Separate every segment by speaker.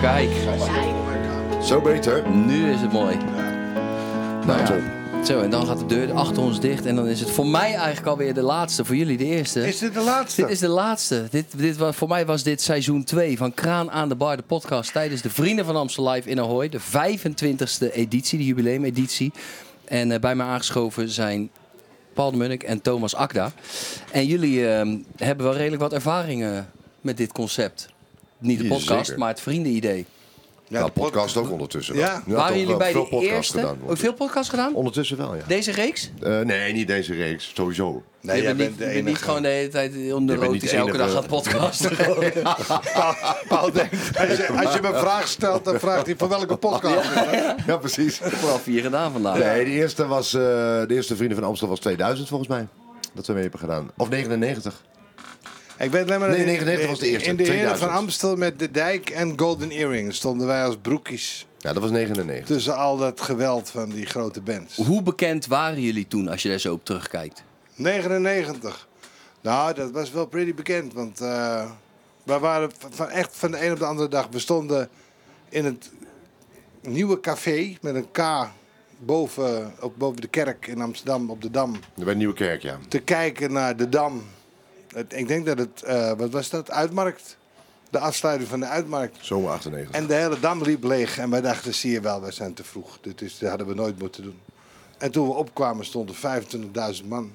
Speaker 1: Kijk,
Speaker 2: Zo beter.
Speaker 1: nu is het mooi.
Speaker 2: Nou,
Speaker 1: ja.
Speaker 2: top.
Speaker 1: Zo, en dan gaat de deur achter ons dicht. En dan is het voor mij eigenlijk alweer de laatste. Voor jullie de eerste.
Speaker 3: Is dit de laatste?
Speaker 1: Dit is de laatste. Dit, dit, wa- voor mij was dit seizoen 2 van Kraan aan de Bar, de podcast tijdens de Vrienden van Amstel Live in Ahoy. De 25e editie, de jubileumeditie. En eh, bij mij aangeschoven zijn Paul de Munnik en Thomas Akda. En jullie eh, hebben wel redelijk wat ervaringen met dit concept. Niet de
Speaker 2: Jezus,
Speaker 1: podcast,
Speaker 2: zeker.
Speaker 1: maar het vriendenidee.
Speaker 2: Ja,
Speaker 3: de pod-
Speaker 2: podcast ook ondertussen.
Speaker 3: nou, Ja.
Speaker 2: wel.
Speaker 3: Waren
Speaker 2: toch
Speaker 1: Waren jullie
Speaker 2: wel
Speaker 1: bij
Speaker 2: veel
Speaker 1: de
Speaker 2: podcasts
Speaker 1: eerste?
Speaker 2: gedaan worden.
Speaker 1: Oh, veel podcasts gedaan?
Speaker 2: Ondertussen wel, ja.
Speaker 1: Deze reeks?
Speaker 2: Eh, nee, niet deze reeks. Sowieso.
Speaker 3: Nee,
Speaker 1: je
Speaker 3: jij
Speaker 1: bent,
Speaker 3: bent
Speaker 1: niet,
Speaker 3: de
Speaker 1: je bent
Speaker 3: enige.
Speaker 1: niet gewoon de hele tijd
Speaker 2: niet
Speaker 1: onderrotisch
Speaker 2: de
Speaker 1: elke dag
Speaker 2: enige.
Speaker 1: aan het podcasten.
Speaker 3: Paul denkt, als je, als je me een vraag stelt, dan vraagt hij van welke podcast.
Speaker 2: Ja, precies.
Speaker 1: Vooral vier gedaan vandaag.
Speaker 2: Nee, de eerste, was, eh, de eerste Vrienden van Amstel was 2000 volgens mij. Dat we mee hebben gedaan. Of 99.
Speaker 3: Ik weet alleen maar
Speaker 2: Nee,
Speaker 3: dat in-
Speaker 2: 99 was de eerste,
Speaker 3: In de Heren van
Speaker 2: 2000.
Speaker 3: Amstel met de dijk en Golden Earring stonden wij als broekjes
Speaker 2: Ja, dat was 99.
Speaker 3: tussen al dat geweld van die grote bands.
Speaker 1: Hoe bekend waren jullie toen als je daar zo op terugkijkt?
Speaker 3: 99. Nou, dat was wel pretty bekend, want eh wij waren van- van echt van de een op de andere dag. We stonden in het nieuwe café met een K boven, op, boven de kerk in Amsterdam op de Dam.
Speaker 2: Bij Nieuwe Kerk, ja.
Speaker 3: te kijken naar de Dam. Het- ik denk dat het, eh, wat was dat, Uitmarkt? De afsluiting van de Uitmarkt.
Speaker 2: Zomer 98.
Speaker 3: En de hele Dam liep leeg en wij dachten, zie je wel, we zijn te vroeg. Dit, is, dit hadden we nooit moeten doen. En toen we opkwamen stonden 25.000 man.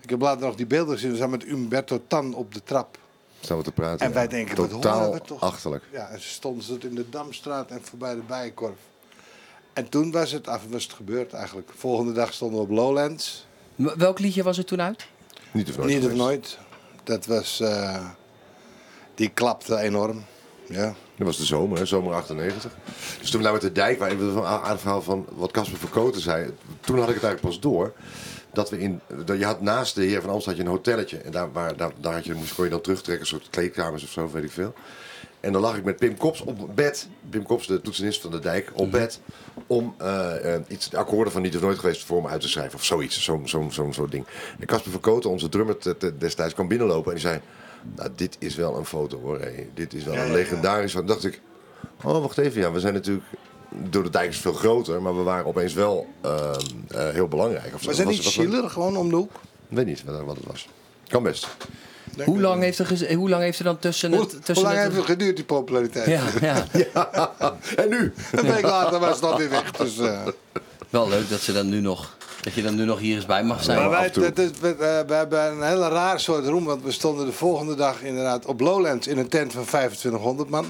Speaker 3: Ik heb later nog die beelden gezien, we staan met Umberto Tan op de trap.
Speaker 2: Staan we te praten.
Speaker 3: En wij
Speaker 2: ja.
Speaker 3: denken, wat
Speaker 2: Totaal
Speaker 3: horen we toch?
Speaker 2: achterlijk.
Speaker 3: Ja, en ze stonden ze in de Damstraat en voorbij de Bijenkorf. En toen was het, af, was het gebeurd eigenlijk. Volgende dag stonden we op Lowlands.
Speaker 1: M- Welk liedje was er toen uit?
Speaker 2: Niet of nooit.
Speaker 3: Niet of
Speaker 2: geweest.
Speaker 3: nooit. Dat was. eh, die klapte enorm. Ja.
Speaker 2: Dat was de zomer, hè, zomer 98. Dus toen we daar met de dijk waren, even van- aan het verhaal van wat Casper Verkoten zei. Toen had ik het eigenlijk pas door. Dat we in, dat je had naast de Heer van Amsterdam had je een hotelletje. En daar, waar, daar, daar had je, moest, kon je dan terugtrekken, een soort kleedkamers of zo, weet ik veel. En dan lag ik met Pim Kops op bed. Pim Kops, de toetsenist van de dijk, op bed. Om eh, eh, iets, de akkoorden van Niet of Nooit geweest voor me uit te schrijven. Of zoiets, zo'n zo, zo, soort ding. En Casper Verkoten, onze drummer te- te- destijds, kwam binnenlopen en die zei... Nou, dit is wel een foto hoor. hé. Dit is wel een legendarisch foto. Toen dacht ik, oh wacht even. Ja, we zijn natuurlijk... Door de dijk is veel groter, maar we waren opeens wel ehm, eh, heel belangrijk. Of zo.
Speaker 3: Was dat
Speaker 2: Was-
Speaker 3: niet
Speaker 2: was-
Speaker 3: Schiller gewoon om de hoek?
Speaker 2: Ik weet niet wat, wat het was. Kan best.
Speaker 1: Hoe lang, heeft er gez- eh, hoe lang heeft er dan tussen
Speaker 3: Hoe,
Speaker 1: het...
Speaker 3: hoe
Speaker 1: tussen
Speaker 3: lang
Speaker 1: het-
Speaker 3: heeft het geduurd, die populariteit?
Speaker 1: ja, ja,
Speaker 2: en nu?
Speaker 3: Een week later was dat weer weg. Dus, eh.
Speaker 1: wel leuk dat, ze dan nu nog, dat je dan nu nog hier eens bij mag zijn.
Speaker 3: Maar wij,
Speaker 2: af en toe.
Speaker 3: dat is, we, eh, we hebben een hele raar soort roem, want we stonden de volgende dag inderdaad op Lowlands in een tent van 2500 man.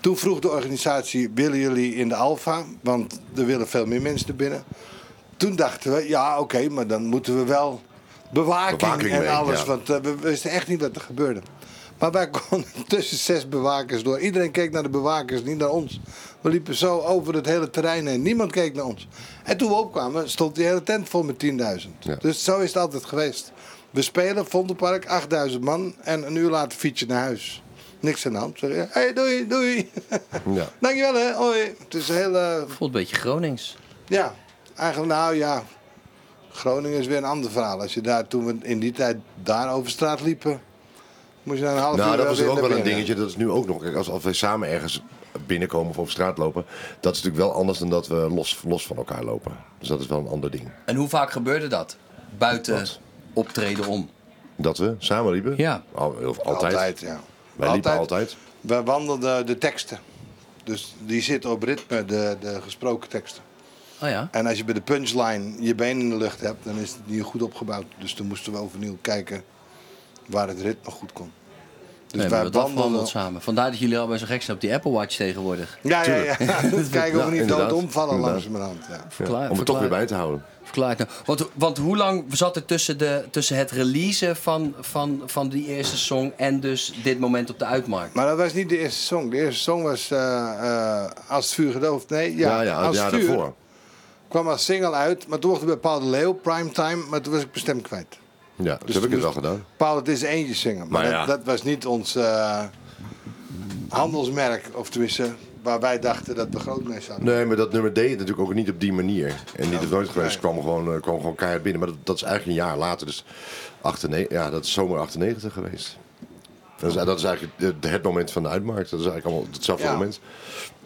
Speaker 3: Toen vroeg de organisatie, willen jullie in de Alfa? Want er willen veel meer mensen naar binnen. Toen dachten we, ja oké, maar dan moeten we wel bewaking,
Speaker 2: Bewaking
Speaker 3: en
Speaker 2: mee,
Speaker 3: alles.
Speaker 2: ja.
Speaker 3: Want eh, we wisten echt niet wat er gebeurde. Maar wij konden tussen zes bewakers door. Iedereen keek naar de bewakers, niet naar ons. We liepen zo over het hele terrein heen. Niemand keek naar ons. En toen we opkwamen, stond die hele tent vol met 10.000.
Speaker 2: Ja.
Speaker 3: Dus zo is het altijd geweest. We spelen Vondelpark, 8000 man. En een uur later fietsen naar huis. Niks aan de hand. Hé, hey, doei, doei.
Speaker 2: Ja.
Speaker 3: Dankjewel, hè. Hoi. Het is heel... eh,
Speaker 1: Voelt een beetje Gronings.
Speaker 3: ja, eigenlijk nou ja. Groningen is weer een ander verhaal. Als je daar toen we in die tijd daar over straat liepen, moest je daar een half uur
Speaker 2: Nou, dat was
Speaker 3: weer
Speaker 2: ook
Speaker 3: naar
Speaker 2: wel een
Speaker 3: binnen.
Speaker 2: dingetje. Dat is nu ook nog. Kijk, als, als wij samen ergens binnenkomen of op straat lopen, dat is natuurlijk wel anders dan dat we los, los van elkaar lopen. Dus dat is wel een ander ding.
Speaker 1: En hoe vaak gebeurde dat? Buiten optreden om.
Speaker 2: Dat we samen liepen?
Speaker 1: Ja.
Speaker 2: Al, heel- altijd.
Speaker 3: Altijd. ja.
Speaker 2: Wij liepen altijd.
Speaker 3: We wandelden de teksten. Dus die zitten op ritme, de, de gesproken teksten.
Speaker 1: Oh ja.
Speaker 3: En als je bij de punchline je been in de lucht hebt, dan is het niet goed opgebouwd. Dus toen moesten we overnieuw kijken waar het ritme goed kon. Dus
Speaker 1: nee, we
Speaker 3: wij
Speaker 1: hebben dat
Speaker 3: wandelden.
Speaker 1: wandelt samen. Vandaar dat jullie allemaal zo gek zijn op die Apple Watch tegenwoordig.
Speaker 3: Ja, ja, ja. Kijken of
Speaker 2: Ja,
Speaker 3: we niet dood
Speaker 2: inderdaad.
Speaker 3: omvallen
Speaker 2: Inderdaad.
Speaker 3: langzamerhand. Ja.
Speaker 2: Ja,
Speaker 1: Verklaar-
Speaker 2: om het toch
Speaker 1: verklaar-
Speaker 2: weer bij te houden.
Speaker 1: Verklaar het nou. Want, want hoe lang zat er tussen, de, tussen het releasen van, van, van die eerste song en dus dit moment op de uitmarkt?
Speaker 3: Maar dat was niet de eerste song. De eerste song was eh, eh, Als het vuur gedooft. Nee, ja,
Speaker 2: Ja, ja, het
Speaker 3: Als
Speaker 2: jaar
Speaker 3: het vuur
Speaker 2: daarvoor.
Speaker 3: kwam als single uit. Maar toen mocht het bij Paul de Leeuw, Primetime. Maar toen was ik bestemd kwijt.
Speaker 2: Ja, dus heb ik het wel gedaan.
Speaker 3: Paul, het is eentje zingen.
Speaker 2: Maar
Speaker 3: Maar, dat,
Speaker 2: ja.
Speaker 3: dat was niet ons eh, handelsmerk. Of tenminste, waar wij dachten dat we groot mee zaten.
Speaker 2: Nee, maar dat nummer deed het natuurlijk ook niet op die manier. En niet of nooit geweest
Speaker 3: nee.
Speaker 2: kwam gewoon, eh, kwam gewoon keihard binnen. Maar dat, dat is eigenlijk een jaar later. Dus 98, ja, dat is zomer 98 geweest. Dat is, dat is eigenlijk het, het moment van de uitmarkt. Dat is eigenlijk allemaal hetzelfde
Speaker 3: Ja.
Speaker 2: moment.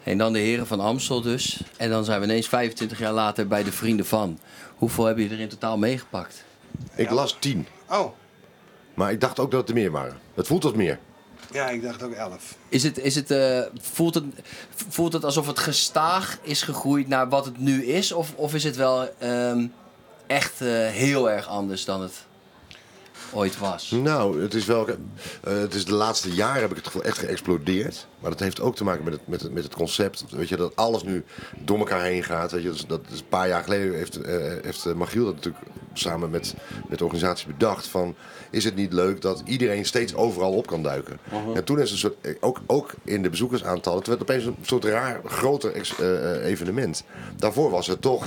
Speaker 1: En dan de heren van Amstel dus. En dan zijn we ineens 25 jaar later bij de vrienden van. Hoeveel heb je er in totaal meegepakt?
Speaker 2: Ik las tien.
Speaker 3: Oh,
Speaker 2: Maar ik dacht ook dat het er meer waren. Het voelt als meer.
Speaker 3: ja, ik dacht ook elf.
Speaker 1: Is het, is het, eh, voelt, het, voelt het alsof het gestaag is gegroeid naar wat het nu is? Of, of is het wel ehm, echt eh, heel erg anders dan het ooit was?
Speaker 2: Nou, het is wel. eh, het is de laatste jaren heb ik het gevoel echt geëxplodeerd. Maar dat heeft ook te maken met het, met het, met het concept. Weet je, dat alles nu door elkaar heen gaat. Weet je, dus dat, is, dat is een paar jaar geleden heeft, eh heeft eh, Magiel dat natuurlijk samen met, met de organisatie bedacht. Van, is het niet leuk dat iedereen steeds overal op kan duiken? En toen is een soort. eh, Ook, ook in de bezoekersaantallen. Het werd opeens een soort raar groter ex- eh, eh, evenement. Daarvoor was het toch.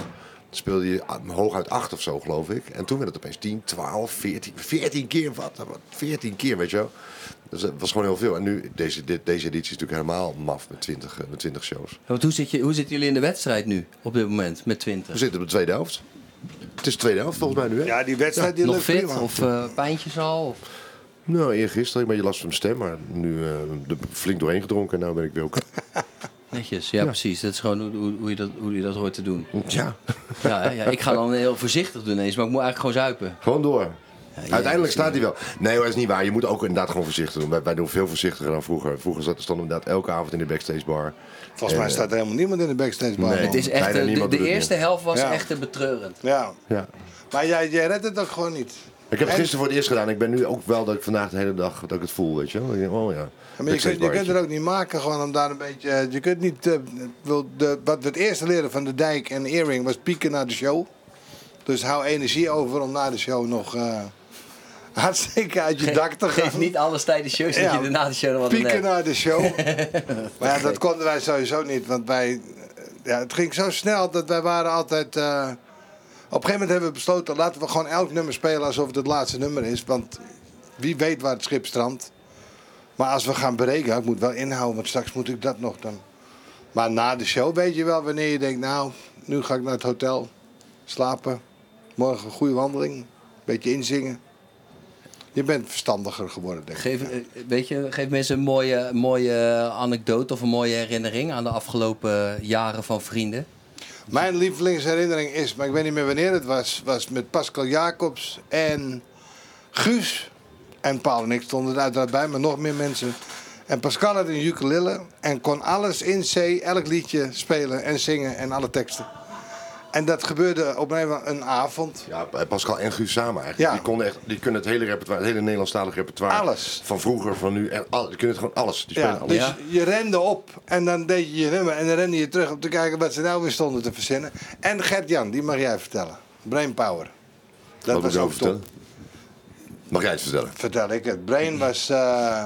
Speaker 2: Speelde je a- hooguit 8 of zo, geloof ik. En toen werd het opeens 10, 12, 14, 14 keer. Wat, wat, 14 keer, weet je wel. Dus dat was gewoon heel veel. En nu, deze, dit, deze editie is natuurlijk helemaal maf met 20, eh, met 20 shows.
Speaker 1: Want hoe, zit je, hoe zitten jullie in de wedstrijd nu, op dit moment, met
Speaker 2: We
Speaker 1: 20?
Speaker 2: zitten op de tweede helft. Het is de tweede helft volgens mij nu, hè?
Speaker 3: Ja, die wedstrijd die
Speaker 1: Nog
Speaker 3: lukt
Speaker 1: fit
Speaker 3: prima.
Speaker 1: of eh, pijntjes al? Of-
Speaker 2: Nou, eergisteren, maar je last van mijn stem. Maar nu eh, er flink doorheen gedronken en nu ben ik weer ook...
Speaker 1: Netjes, ja, precies. Dat is gewoon hoe, hoe, hoe je dat, hoe je dat hoort te doen.
Speaker 2: Ja,
Speaker 1: Ja, hè, ja, ik ga dan heel voorzichtig doen eens, maar ik moet eigenlijk gewoon zuipen.
Speaker 2: gewoon door.
Speaker 1: ja,
Speaker 2: Uiteindelijk
Speaker 1: ja.
Speaker 2: staat hij wel. Nee hoor, dat is niet waar. Je moet ook inderdaad gewoon voorzichtig doen. Wij, wij doen veel voorzichtiger dan vroeger. Vroeger zat- stonden we inderdaad elke avond in de backstage bar.
Speaker 3: Volgens mij
Speaker 2: Eh,
Speaker 3: staat er helemaal niemand in de backstage bar.
Speaker 2: Nee.
Speaker 1: Het is echt,
Speaker 2: Bijna
Speaker 1: eh, de,
Speaker 2: niemand
Speaker 1: de
Speaker 2: doet het
Speaker 1: eerste helft was
Speaker 3: Ja.
Speaker 1: echt eh, betreurend.
Speaker 3: Ja,
Speaker 2: Ja.
Speaker 3: maar jij, jij redt het ook gewoon niet.
Speaker 2: Ik heb het
Speaker 3: En-
Speaker 2: gisteren voor het eerst gedaan. Ik ben nu ook wel dat ik vandaag de hele dag dat ik het voel, weet je wel. Ik denk, Oh ja.
Speaker 3: Ja, Maar je, kunt, je kunt er ook niet maken, gewoon om daar een beetje. eh, Je kunt niet. eh, ik bedoel, de, wat we het eerste leren van de dijk en Earring was pieken naar de show. Dus hou energie over om na de show nog eh, hartstikke uit je dak te
Speaker 1: Geef
Speaker 3: gaan.
Speaker 1: niet alles tijdens shows dat
Speaker 3: Ja.
Speaker 1: je daarna de show nog wat aan
Speaker 3: Pieken
Speaker 1: hebt.
Speaker 3: naar de show. maar ja, dat konden wij sowieso niet, want wij. eh, Ja, het ging zo snel dat wij waren altijd. eh, op een gegeven moment hebben we besloten, laten we gewoon elk nummer spelen alsof het het laatste nummer is. Want wie weet waar het schip strandt. Maar als we gaan berekenen, ik moet wel inhouden, want straks moet ik dat nog dan. Maar na de show weet je wel wanneer je denkt, nou, nu ga ik naar het hotel slapen. Morgen een goede wandeling, een beetje inzingen. Je bent verstandiger geworden, denk ik.
Speaker 1: Geef, eh, weet je, geef mensen een mooie, mooie anekdote of een mooie herinnering aan de afgelopen eh, jaren van vrienden.
Speaker 3: Mijn lievelingsherinnering is, maar ik weet niet meer wanneer het was, was met Pascal Jacobs en Guus. En Paul en ik stonden er uiteraard bij, maar nog meer mensen. En Pascal had een ukulele en kon alles in C, elk liedje spelen en zingen en alle teksten. En dat gebeurde op een, een avond.
Speaker 2: Ja, Pascal en Guus samen eigenlijk.
Speaker 3: Ja.
Speaker 2: Die, konden echt, die kunnen het hele repertoire, het hele Nederlandstalig repertoire.
Speaker 3: Alles.
Speaker 2: Van vroeger, van nu. En al, die kunnen het gewoon alles. Die spelen
Speaker 3: Ja,
Speaker 2: alles.
Speaker 3: dus
Speaker 1: Ja.
Speaker 3: je rende op en dan deed je je nummer en dan rende je terug om te kijken wat ze nou weer stonden te verzinnen. En Gert-Jan, die mag jij vertellen. Brainpower. Dat
Speaker 2: Wat moet
Speaker 3: was
Speaker 2: ik
Speaker 3: ook
Speaker 2: over
Speaker 3: top.
Speaker 2: vertellen? Mag jij het vertellen?
Speaker 3: vertel ik het. Brain was. eh,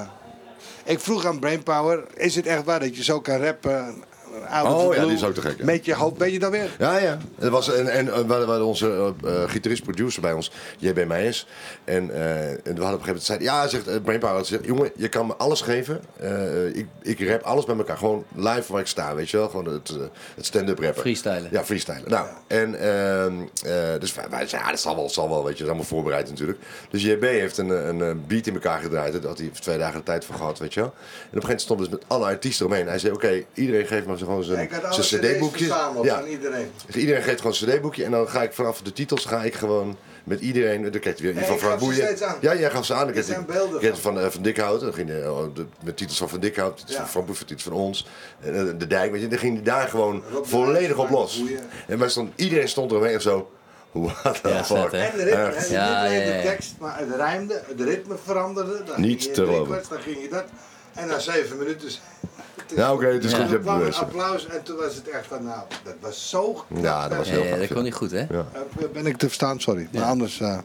Speaker 3: ik vroeg aan Brainpower: is het echt waar dat je zo kan rappen? Out of
Speaker 2: Oh
Speaker 3: the
Speaker 2: ja,
Speaker 3: blue,
Speaker 2: die is ook te gek, ja.
Speaker 3: Met je hoofd, weet je dat weer?
Speaker 2: Ja, ja. Er was en en eh, we hadden we hadden onze eh, eh, gitarist-producer bij ons, JB Meijers. En, eh, en we hadden op een gegeven moment zei, ja, zegt eh, Brainpower, had gezegd, jongen, je kan me alles geven. Eh, ik, ik rap alles bij elkaar. Gewoon live waar ik sta, weet je wel. Gewoon het, eh, het stand-up rappen.
Speaker 1: Freestylen.
Speaker 2: Ja, freestylen. Nou, en ehm, eh, dus wij, wij zeiden, ja, dat zal wel, zal wel, weet je. Dat is allemaal voorbereid natuurlijk. Dus JB heeft een, eh, een eh, beat in elkaar gedraaid. Daar had hij twee dagen de tijd voor gehad, weet je wel. En op een gegeven moment stond dus met alle artiesten omheen. Hij zei, oké, iedereen geeft maar gewoon zijn,
Speaker 3: Ik had alle
Speaker 2: zijn
Speaker 3: cd's
Speaker 2: cd-boekje.
Speaker 3: verzameld
Speaker 2: Ja.
Speaker 3: van iedereen.
Speaker 2: Dus iedereen geeft gewoon een cd-boekje en dan ga ik vanaf de titels ga ik gewoon met iedereen, dan krijgt hij weer
Speaker 3: Nee,
Speaker 2: van
Speaker 3: ik gaf
Speaker 2: Frank
Speaker 3: ze
Speaker 2: Boeien.
Speaker 3: steeds aan.
Speaker 2: Ja, jij gaf ze aan. Ik
Speaker 3: Er
Speaker 2: kreeg
Speaker 3: zijn beelden
Speaker 2: ik kreeg van, eh, van Dikhout, dan ging, eh, de- met titels van Van Dikhout, titels
Speaker 3: Ja.
Speaker 2: van Frank Boeien, titels van ons, en, eh, De Dijk, weet je, dan ging hij daar gewoon
Speaker 3: Rob
Speaker 2: volledig
Speaker 3: Luijks,
Speaker 2: op
Speaker 3: Frank
Speaker 2: los.
Speaker 3: Boeien.
Speaker 2: En wij stond, iedereen stond eromheen en zo, what the
Speaker 1: Ja, vet,
Speaker 2: fuck.
Speaker 1: hè?
Speaker 3: En de ritme,
Speaker 2: Echt.
Speaker 3: en
Speaker 1: Ja,
Speaker 3: niet alleen
Speaker 1: ja, ja.
Speaker 3: de tekst, maar het rijmde, het ritme veranderde. Dan
Speaker 2: Niet
Speaker 3: ging je
Speaker 2: te
Speaker 3: drie
Speaker 2: geloven.
Speaker 3: kwart, Dan ging je dat. En na zeven minuten. is- het is-
Speaker 2: Ja, oké, het is
Speaker 1: Ja.
Speaker 2: goed, je
Speaker 3: Er
Speaker 2: hebt het
Speaker 3: kwam een
Speaker 2: bewezen.
Speaker 3: applaus en toen was het echt van nou, dat was zo. knap.
Speaker 2: Ja, dat was
Speaker 1: Ja,
Speaker 2: heel
Speaker 1: ja,
Speaker 2: gaaf,
Speaker 1: Eh, dat
Speaker 2: ja.
Speaker 1: kon niet goed, hè?
Speaker 2: Ja.
Speaker 3: Eh, Ben ik te verstaan, sorry. Maar anders eh,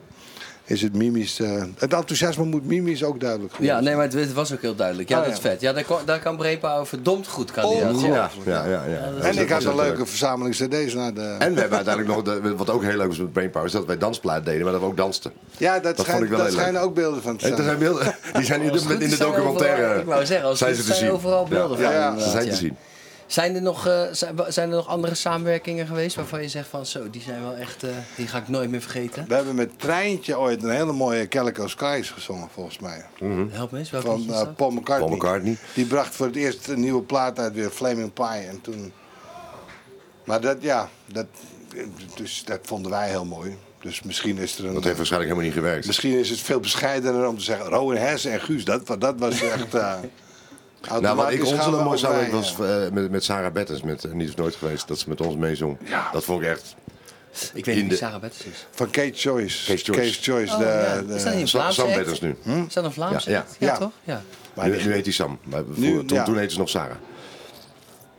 Speaker 3: is het mimisch. eh, het enthousiasme moet mimisch ook duidelijk worden.
Speaker 1: Ja, nee, maar het, het was ook heel duidelijk. Ja,
Speaker 3: Ah,
Speaker 1: dat
Speaker 3: ja.
Speaker 1: is vet. Ja, daar, kon- daar kan Brepa verdomd goed kandidaat zijn.
Speaker 2: Ja, ja, ja, ja.
Speaker 3: En ik had
Speaker 2: Dat
Speaker 3: een
Speaker 2: was
Speaker 3: leuke verzameling cd's naar de...
Speaker 2: En we hebben uiteindelijk nog, de- wat ook heel leuk was met Brainpower, is dat wij dansplaat deden, maar dat we ook dansten.
Speaker 3: Ja, dat,
Speaker 2: vond ik
Speaker 3: schijnt,
Speaker 2: wel
Speaker 3: dat
Speaker 2: heel leuk.
Speaker 3: schijnen ook beelden van te
Speaker 2: Hey, er
Speaker 3: zijn.
Speaker 2: zijn beelden, die zijn in
Speaker 1: Als
Speaker 2: de,
Speaker 1: het goed
Speaker 2: in de
Speaker 1: is zijn
Speaker 2: documentaire.
Speaker 1: overal- ik wou zeggen, als het
Speaker 2: zijn
Speaker 1: goed
Speaker 2: ze
Speaker 1: is
Speaker 2: te
Speaker 1: zijn
Speaker 2: zien.
Speaker 1: overal beelden
Speaker 2: ja.
Speaker 1: van,
Speaker 2: Ja, ze
Speaker 1: inderdaad,
Speaker 2: zijn
Speaker 1: ja.
Speaker 2: te zien.
Speaker 1: Zijn er, nog, eh, zijn, wa- zijn er nog andere samenwerkingen geweest waarvan je zegt van zo, die zijn wel echt, eh, die ga ik nooit meer vergeten?
Speaker 3: We hebben met Treintje ooit een hele mooie Calico Skies gezongen, volgens mij.
Speaker 2: Mhm. Hm?
Speaker 1: Help me eens, welke
Speaker 3: Van
Speaker 1: liedje is
Speaker 3: eh,
Speaker 1: dat?
Speaker 3: Paul McCartney.
Speaker 2: Paul McCartney.
Speaker 3: Die bracht voor het eerst een nieuwe plaat uit, weer Flaming Pie. En toen... Maar dat, ja, dat, dus, dat vonden wij heel mooi. Dus misschien is er een...
Speaker 2: Dat heeft waarschijnlijk helemaal niet gewerkt.
Speaker 3: Misschien is het veel bescheidener om te zeggen... Rowan Hess en Guus, dat, dat was echt... eh
Speaker 2: Nou, wat
Speaker 3: automatisch
Speaker 2: ik ons
Speaker 3: gaan we
Speaker 2: een mooi
Speaker 3: allebei,
Speaker 2: samenwerking was
Speaker 3: ja.
Speaker 2: eh, met, met Sarah Bettens, met eh, Niet of Nooit geweest, dat ze met ons meezong.
Speaker 3: Ja.
Speaker 2: Dat vond ik echt.
Speaker 1: Ik weet niet
Speaker 2: in
Speaker 1: wie
Speaker 2: de-
Speaker 1: Sarah Bettens is.
Speaker 3: Van Kate Joyce.
Speaker 2: Kate Joyce.
Speaker 3: Joyce,
Speaker 1: Oh,
Speaker 3: de,
Speaker 1: ja.
Speaker 3: de- Hm?
Speaker 1: Is dat niet een
Speaker 2: Sam-
Speaker 1: Vlaamse
Speaker 2: Sam
Speaker 1: act?
Speaker 2: Betters nu.
Speaker 1: Is dat een Vlaamse
Speaker 2: Ja, ja.
Speaker 1: act? Ja,
Speaker 3: Ja.
Speaker 1: toch? Ja.
Speaker 3: maar
Speaker 2: nu,
Speaker 3: die-
Speaker 2: nu heet hij Sam. Maar voor-
Speaker 3: Nu,
Speaker 2: toen,
Speaker 3: ja.
Speaker 2: toen heette ze nog Sarah.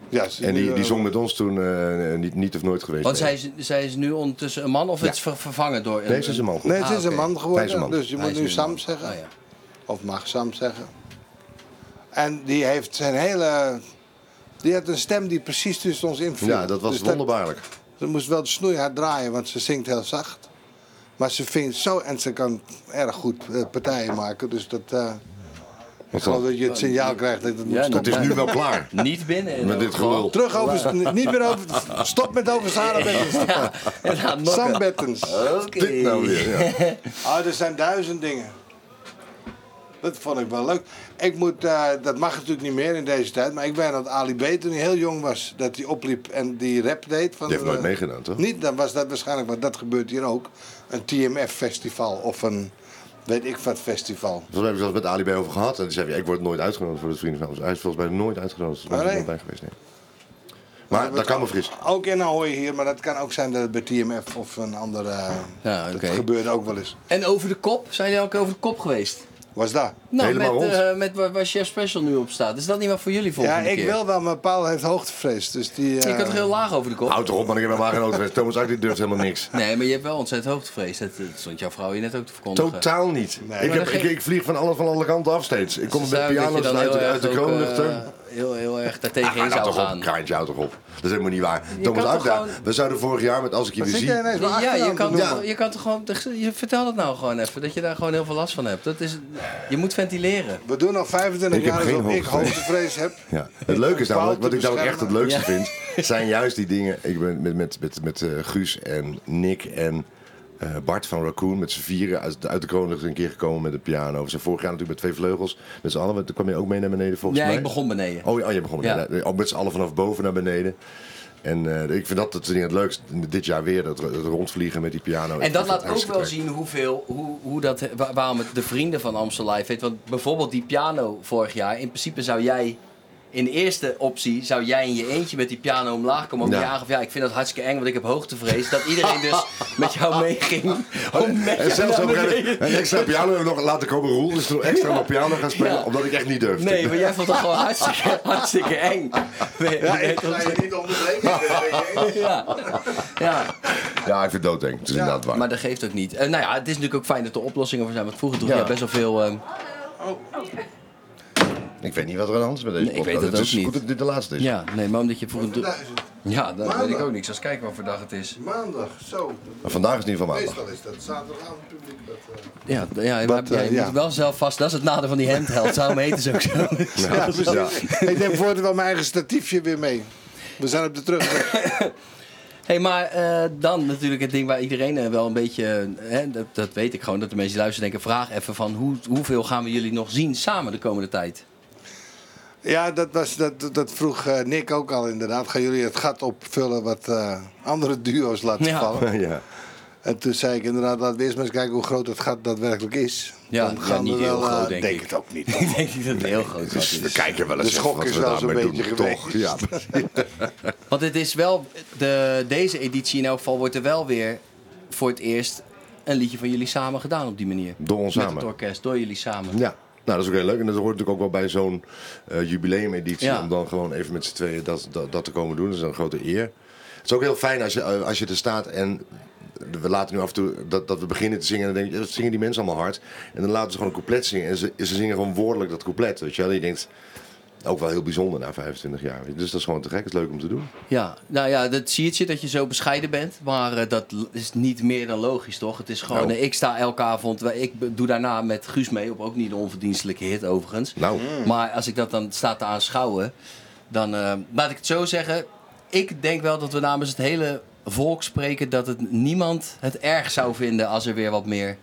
Speaker 3: ja, ze-
Speaker 2: En die,
Speaker 3: nu,
Speaker 2: die
Speaker 3: eh,
Speaker 2: zong met ons toen eh, niet, niet of Nooit geweest.
Speaker 1: Want
Speaker 2: nee.
Speaker 1: zij is, zij is nu ondertussen een man of het is ver- vervangen door een...
Speaker 2: Nee, ze is een man.
Speaker 3: Nee, het
Speaker 1: Ah,
Speaker 3: is
Speaker 1: oké.
Speaker 3: een man
Speaker 2: Hij is
Speaker 3: geworden,
Speaker 2: een man. Ah,
Speaker 3: dus je
Speaker 1: Hij
Speaker 3: moet
Speaker 1: is
Speaker 3: nu
Speaker 1: een
Speaker 3: Sam
Speaker 1: man.
Speaker 3: zeggen.
Speaker 1: Oh, ja.
Speaker 3: Of mag Sam zeggen. En die heeft zijn hele... Die had een stem die precies tussen ons inviel.
Speaker 2: Ja, dat was
Speaker 3: Dus
Speaker 2: wonderbaarlijk.
Speaker 3: Ze moest wel snoeihard draaien, want ze zingt heel zacht. Maar ze vindt zo... En ze kan erg goed eh, partijen maken, dus dat... eh, ik geloof dat je het signaal krijgt dat het moet
Speaker 1: Ja, nou,
Speaker 2: Het
Speaker 3: stoppen.
Speaker 2: is nu wel klaar
Speaker 1: Niet binnen. eh, oh, en
Speaker 2: met
Speaker 1: ook
Speaker 2: dit
Speaker 1: gewoon-
Speaker 2: gelul.
Speaker 3: Terug over... Niet meer over... Stop met over Sarah Bettens.
Speaker 1: Ja, en dan nog
Speaker 3: Sam
Speaker 1: een-
Speaker 3: Bettens.
Speaker 1: Oké.
Speaker 2: Dit nou weer. Ja.
Speaker 3: Ah, er zijn duizend dingen. Dat vond ik wel leuk. Ik moet, eh, dat mag natuurlijk niet meer in deze tijd, maar ik ben dat Ali B toen hij heel jong was, dat hij opliep en die rap deed. Van,
Speaker 2: Die heeft
Speaker 3: eh,
Speaker 2: nooit meegedaan, toch?
Speaker 3: Niet, dan was dat waarschijnlijk, maar dat gebeurt hier ook. Een TMF-festival of een weet ik wat festival.
Speaker 2: Volgens mij heb ik het zelfs met Ali bij over gehad. En die zei, ja, ik word nooit uitgenodigd voor het vrienden van ons. Hij is volgens mij nooit uitgenodigd. Er is
Speaker 3: Oh, nee?
Speaker 2: niemand bij geweest, nee. Maar dat kan me fris.
Speaker 3: Ook in Ahoy hier, maar dat kan ook zijn dat het bij TMF of een andere... eh,
Speaker 1: Ja,
Speaker 3: Dat
Speaker 1: oké.
Speaker 3: gebeurde ook wel eens.
Speaker 1: En over de kop? Zijn jullie ook over de kop geweest?
Speaker 3: Was dat?
Speaker 1: Nou,
Speaker 2: Helemaal
Speaker 1: met,
Speaker 2: rond.
Speaker 1: eh, met waar, waar Chef Special nu op staat. Is dat niet wat voor jullie volgende
Speaker 3: Ja, ik
Speaker 1: keer?
Speaker 3: wil wel, maar Paul heeft hoogtevrees, dus die...
Speaker 1: Ik
Speaker 3: eh,
Speaker 1: had er heel laag over de kop.
Speaker 2: Houd toch op, man. Ik heb hem aangenodigd geweest. Thomas Ack, die durft helemaal niks.
Speaker 1: Nee, maar je hebt wel ontzettend hoogtevrees. Dat, dat stond jouw vrouw je net ook te verkondigen.
Speaker 2: Totaal niet. ik,
Speaker 1: Maar
Speaker 2: heb,
Speaker 1: dat
Speaker 2: ik,
Speaker 1: ging-
Speaker 2: ik vlieg van alles van alle kanten af steeds. Ik kom
Speaker 1: Ze
Speaker 2: met
Speaker 1: zei ook dat
Speaker 2: piano's
Speaker 1: je dan
Speaker 2: uit,
Speaker 1: heel
Speaker 2: uit de
Speaker 1: erg ook,
Speaker 2: kroonluchter.
Speaker 1: eh, heel, heel erg daartegen
Speaker 2: Ah,
Speaker 1: in
Speaker 2: nou
Speaker 1: zou
Speaker 2: toch op,
Speaker 1: gaan.
Speaker 2: kraantje, hou toch op. Dat is helemaal niet waar. Thomas
Speaker 1: kan
Speaker 2: Ack,
Speaker 1: toch
Speaker 2: daar-
Speaker 1: gewoon-
Speaker 2: we zouden vorig jaar met Als ik je weer
Speaker 3: zit
Speaker 2: zie...
Speaker 3: jij ineens mijn
Speaker 1: Ja, je
Speaker 3: achternaam te
Speaker 1: kan,
Speaker 3: noemen?
Speaker 1: toch, je kan toch gewoon... Je vertel dat nou gewoon even. Dat je daar gewoon heel veel last van hebt. Dat is, je moet ventileren.
Speaker 3: We doen al 25
Speaker 2: Ik heb
Speaker 3: jaar
Speaker 2: geen
Speaker 3: alsof ik
Speaker 2: hoogtevrees.
Speaker 3: hoogtevrees heb.
Speaker 2: Ja. Het leuke is
Speaker 3: Paal
Speaker 2: namelijk, wat
Speaker 3: te
Speaker 2: ik nou ook echt het
Speaker 3: beschermen.
Speaker 2: leukste
Speaker 1: Ja.
Speaker 2: vind, zijn juist die dingen. Ik ben met, met, met, met eh, Guus en Nick en eh, Bart van Raccoon met z'n vieren uit, uit de Koninklijke een keer gekomen met de piano. We zijn vorig jaar natuurlijk met twee vleugels, met z'n allen. Want Toen kwam je ook mee naar beneden volgens
Speaker 1: Ja,
Speaker 2: mij.
Speaker 1: ik begon beneden.
Speaker 2: Oh, ja, oh, je begon
Speaker 1: Ja.
Speaker 2: beneden. Oh, met z'n allen vanaf boven naar beneden. En eh, ik vind dat het, het leukst dit jaar weer, dat, dat rondvliegen met die piano.
Speaker 1: En
Speaker 2: Ik
Speaker 1: dat
Speaker 2: vind
Speaker 1: laat ook
Speaker 2: hartstikke
Speaker 1: wel
Speaker 2: leuk.
Speaker 1: zien hoeveel, hoe, hoe dat, wa- waarom het de vrienden van Amstel Live heet. Want bijvoorbeeld die piano vorig jaar, in principe zou jij in de eerste optie, zou jij in je eentje met die piano omlaag komen. Omdat
Speaker 2: Ja.
Speaker 1: je aangaf, ja, ik vind dat hartstikke eng, want ik heb hoogtevrees. Dat iedereen dus met jou meeging om met
Speaker 2: En
Speaker 1: jou
Speaker 2: zelfs
Speaker 1: naar
Speaker 2: ook
Speaker 1: beneden.
Speaker 2: een extra piano hebben we nog laten komen. Roel is er extra op piano gaan spelen,
Speaker 1: Ja.
Speaker 2: omdat ik echt niet durfde.
Speaker 1: Nee, maar jij vond het gewoon hartstikke, hartstikke eng. Nee,
Speaker 3: Ja,
Speaker 1: nee,
Speaker 3: ik ga je niet onderbreken.
Speaker 1: ja. ja.
Speaker 2: Ja, ik vind het doodeng. Het is inderdaad waar.
Speaker 1: Maar dat geeft ook niet. Eh, nou ja, het is natuurlijk ook fijn dat er oplossingen voor zijn. Want vroeger droeg
Speaker 2: Ja.
Speaker 1: jij best wel veel... ehm,
Speaker 2: Ik weet niet wat er aan de hand is met deze
Speaker 1: Nee, ik
Speaker 2: podcast.
Speaker 1: weet het
Speaker 2: het
Speaker 1: ook
Speaker 2: is
Speaker 1: niet.
Speaker 2: goed dat dit de laatste is.
Speaker 1: ja, nee, maar omdat je vroeger...
Speaker 3: Vandaag is het
Speaker 1: Ja, dat
Speaker 3: Maandag.
Speaker 1: weet ik ook niks. Als kijken wat voor dag het is.
Speaker 3: maandag, zo.
Speaker 2: Maar vandaag is het niet van maandag.
Speaker 3: Meestal is dat zaterdagavond publiek. Dat, eh,
Speaker 1: Ja, d- ja,
Speaker 3: Dat,
Speaker 1: maar- ja, je
Speaker 3: eh, ja.
Speaker 1: moet wel zelf vast. Dat is het nadeel van die handheld. Daarom heet ze ook zo.
Speaker 2: Ja,
Speaker 3: precies. Ik neem voortaan wel mijn eigen statiefje weer mee. We zijn op de terugweg.
Speaker 1: hey, maar eh, dan natuurlijk het ding waar iedereen eh, wel een beetje... eh, Hè, dat, dat weet ik gewoon. Dat de mensen die luisteren denken... Vraag even van hoe, hoeveel gaan we jullie nog zien samen de komende tijd?
Speaker 3: Ja, dat, was, dat, dat vroeg eh, Nick ook al inderdaad. Gaan jullie het gat opvullen wat eh, andere duo's laten
Speaker 1: Ja.
Speaker 3: vallen?
Speaker 2: ja.
Speaker 3: En toen zei ik inderdaad, laten we eerst maar eens kijken hoe groot het gat daadwerkelijk is.
Speaker 1: Ja,
Speaker 3: Dan
Speaker 1: ja,
Speaker 3: gaan
Speaker 1: niet
Speaker 3: we
Speaker 1: heel
Speaker 3: wel, eh,
Speaker 1: groot, denk ik.
Speaker 3: het ook niet.
Speaker 1: ik denk dat het heel groot
Speaker 2: Dus
Speaker 1: is.
Speaker 2: we kijken wel eens
Speaker 3: De
Speaker 2: even
Speaker 3: schok
Speaker 2: wat
Speaker 3: is
Speaker 2: we
Speaker 3: wel
Speaker 2: daarmee
Speaker 3: zo'n
Speaker 2: doen,
Speaker 3: beetje
Speaker 2: Toch?
Speaker 3: geweest.
Speaker 2: Ja.
Speaker 1: Want het is wel, de, deze editie in elk geval wordt er wel weer voor het eerst een liedje van jullie samen gedaan op die manier.
Speaker 2: Door ons
Speaker 1: Met
Speaker 2: samen.
Speaker 1: het orkest, door jullie samen.
Speaker 2: ja. Nou, dat is ook heel leuk. En dat hoort natuurlijk ook wel bij zo'n eh, jubileumeditie.
Speaker 1: Ja.
Speaker 2: Om dan gewoon even met z'n tweeën dat, dat, dat te komen doen. Dat is een grote eer. Het is ook heel fijn als je, eh, als je er staat en... We laten nu af en toe dat, dat we beginnen te zingen en dan denk je, "Ja, wat zingen die mensen allemaal hard. En dan laten ze gewoon een couplet zingen en ze, ze zingen gewoon woordelijk dat couplet. Weet je wel, En je denkt, ook wel heel bijzonder na 25 jaar. Dus dat is gewoon te gek, het is leuk om te doen.
Speaker 1: Ja, nou ja, dat zie je dat je zo bescheiden bent. Maar eh, dat l- is niet meer dan logisch, toch? Het is gewoon,
Speaker 2: Nou.
Speaker 1: eh, ik sta elke avond, wij- ik be- doe daarna met Guus mee op ook niet een onverdienstelijke hit overigens.
Speaker 2: Nou,
Speaker 1: Maar als ik dat dan sta te aanschouwen, Dan eh, laat ik het zo zeggen. Ik denk wel dat we namens het hele volk spreken dat het niemand het erg zou vinden als er weer wat meer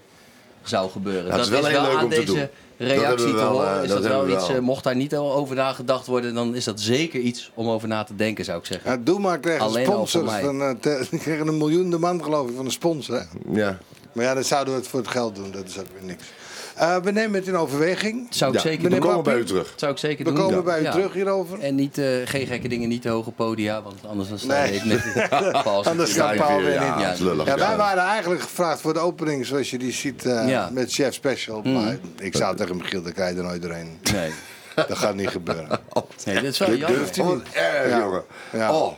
Speaker 1: zou gebeuren.
Speaker 2: Nou, het is wel heel leuk
Speaker 1: aan
Speaker 2: om te
Speaker 1: deze
Speaker 2: doen. Dat
Speaker 1: reactie
Speaker 2: hebben
Speaker 1: te
Speaker 2: we wel,
Speaker 1: horen.
Speaker 2: eh,
Speaker 1: is
Speaker 2: dat
Speaker 1: dat, wel
Speaker 2: hebben we
Speaker 1: iets,
Speaker 2: wel.
Speaker 1: eh, mocht daar niet over na gedacht worden, dan is dat zeker iets om over na te denken, zou ik zeggen.
Speaker 3: Ja, doe maar, kreeg een
Speaker 1: Alleen al
Speaker 3: sponsor.
Speaker 1: voor mij.
Speaker 3: Van, eh, te- die kregen een miljoen de man, geloof ik, van een sponsor. hè.
Speaker 2: Ja.
Speaker 3: Maar ja, dan zouden we het voor het geld doen. Dat is ook weer niks. Eh, we nemen het in overweging.
Speaker 1: Zou ik
Speaker 2: Ja,
Speaker 1: zeker
Speaker 2: we
Speaker 1: doen.
Speaker 3: meneer
Speaker 2: komen bij u
Speaker 3: Papi,
Speaker 2: terug.
Speaker 1: Zou ik zeker
Speaker 3: We
Speaker 1: doen.
Speaker 3: komen
Speaker 1: Ja.
Speaker 3: bij u
Speaker 1: Ja.
Speaker 3: terug hierover.
Speaker 1: En niet, eh, geen gekke dingen, niet te hoge podia, want anders dan sta je
Speaker 3: Nee.
Speaker 1: met Paul.
Speaker 3: Anders staat
Speaker 2: Ja,
Speaker 3: Paul
Speaker 2: ja,
Speaker 3: weer
Speaker 2: ja,
Speaker 3: in.
Speaker 2: dat is lullig,
Speaker 3: Ja,
Speaker 2: ja.
Speaker 3: wij waren eigenlijk gevraagd voor de opening, zoals je die ziet, eh,
Speaker 1: Ja.
Speaker 3: met Chef Special.
Speaker 2: Mhm.
Speaker 3: Maar ik zou tegen Michiel, daar krijg je er nooit doorheen.
Speaker 1: Nee.
Speaker 3: Dat gaat niet gebeuren.
Speaker 1: nee, dat is wel
Speaker 2: Dit
Speaker 1: jammer.
Speaker 2: durft hij niet. Oh, Erg,
Speaker 3: Ja.
Speaker 2: jongen.
Speaker 3: Ja.
Speaker 2: Oh.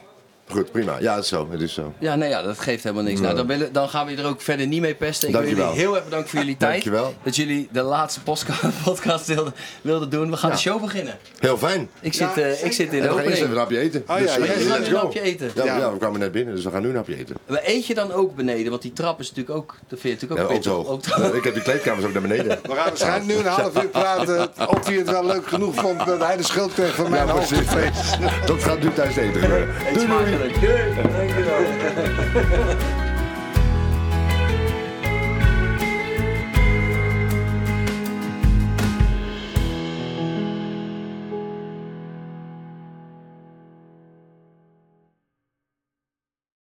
Speaker 2: Goed, prima. Ja, het is zo. Het is zo.
Speaker 1: Ja, nee, ja, dat geeft helemaal niks. Nou, dan, willen, dan gaan we je er ook verder niet mee pesten. Ik wil jullie
Speaker 2: Dankjewel.
Speaker 1: heel erg bedanken voor jullie tijd.
Speaker 2: Dankjewel.
Speaker 1: Dat jullie de laatste postka- podcast wilden, wilden doen. We gaan de show beginnen.
Speaker 2: Heel fijn.
Speaker 1: Ik zit, eh, ik zit in
Speaker 2: En
Speaker 1: de
Speaker 2: we gaan eerst even een
Speaker 1: opening.
Speaker 2: hapje eten.
Speaker 3: Oh, ja,
Speaker 2: eh,
Speaker 3: jij
Speaker 1: gaat
Speaker 2: let's
Speaker 1: nu
Speaker 2: go.
Speaker 1: een hapje eten.
Speaker 2: Ja,
Speaker 3: Ja.
Speaker 2: ja, we kwamen net binnen, dus we gaan nu een hapje eten.
Speaker 1: We eet je dan ook beneden, want die trap is natuurlijk ook... Dat vind je
Speaker 2: Ja,
Speaker 1: natuurlijk ook
Speaker 2: ook
Speaker 1: pittig.
Speaker 2: zo.
Speaker 1: Ook te hoog.
Speaker 2: Eh, Ik heb die kleedkamers ook naar beneden.
Speaker 3: We gaan waarschijnlijk nu een half uur praten of hij het wel leuk genoeg vond dat hij de schuld kreeg van mijn hoogtefeest.
Speaker 2: Dat gaat nu thuis eten gebeuren.
Speaker 1: Eet
Speaker 2: Doei, doei.
Speaker 1: smakelijk. Doei. Dankjewel.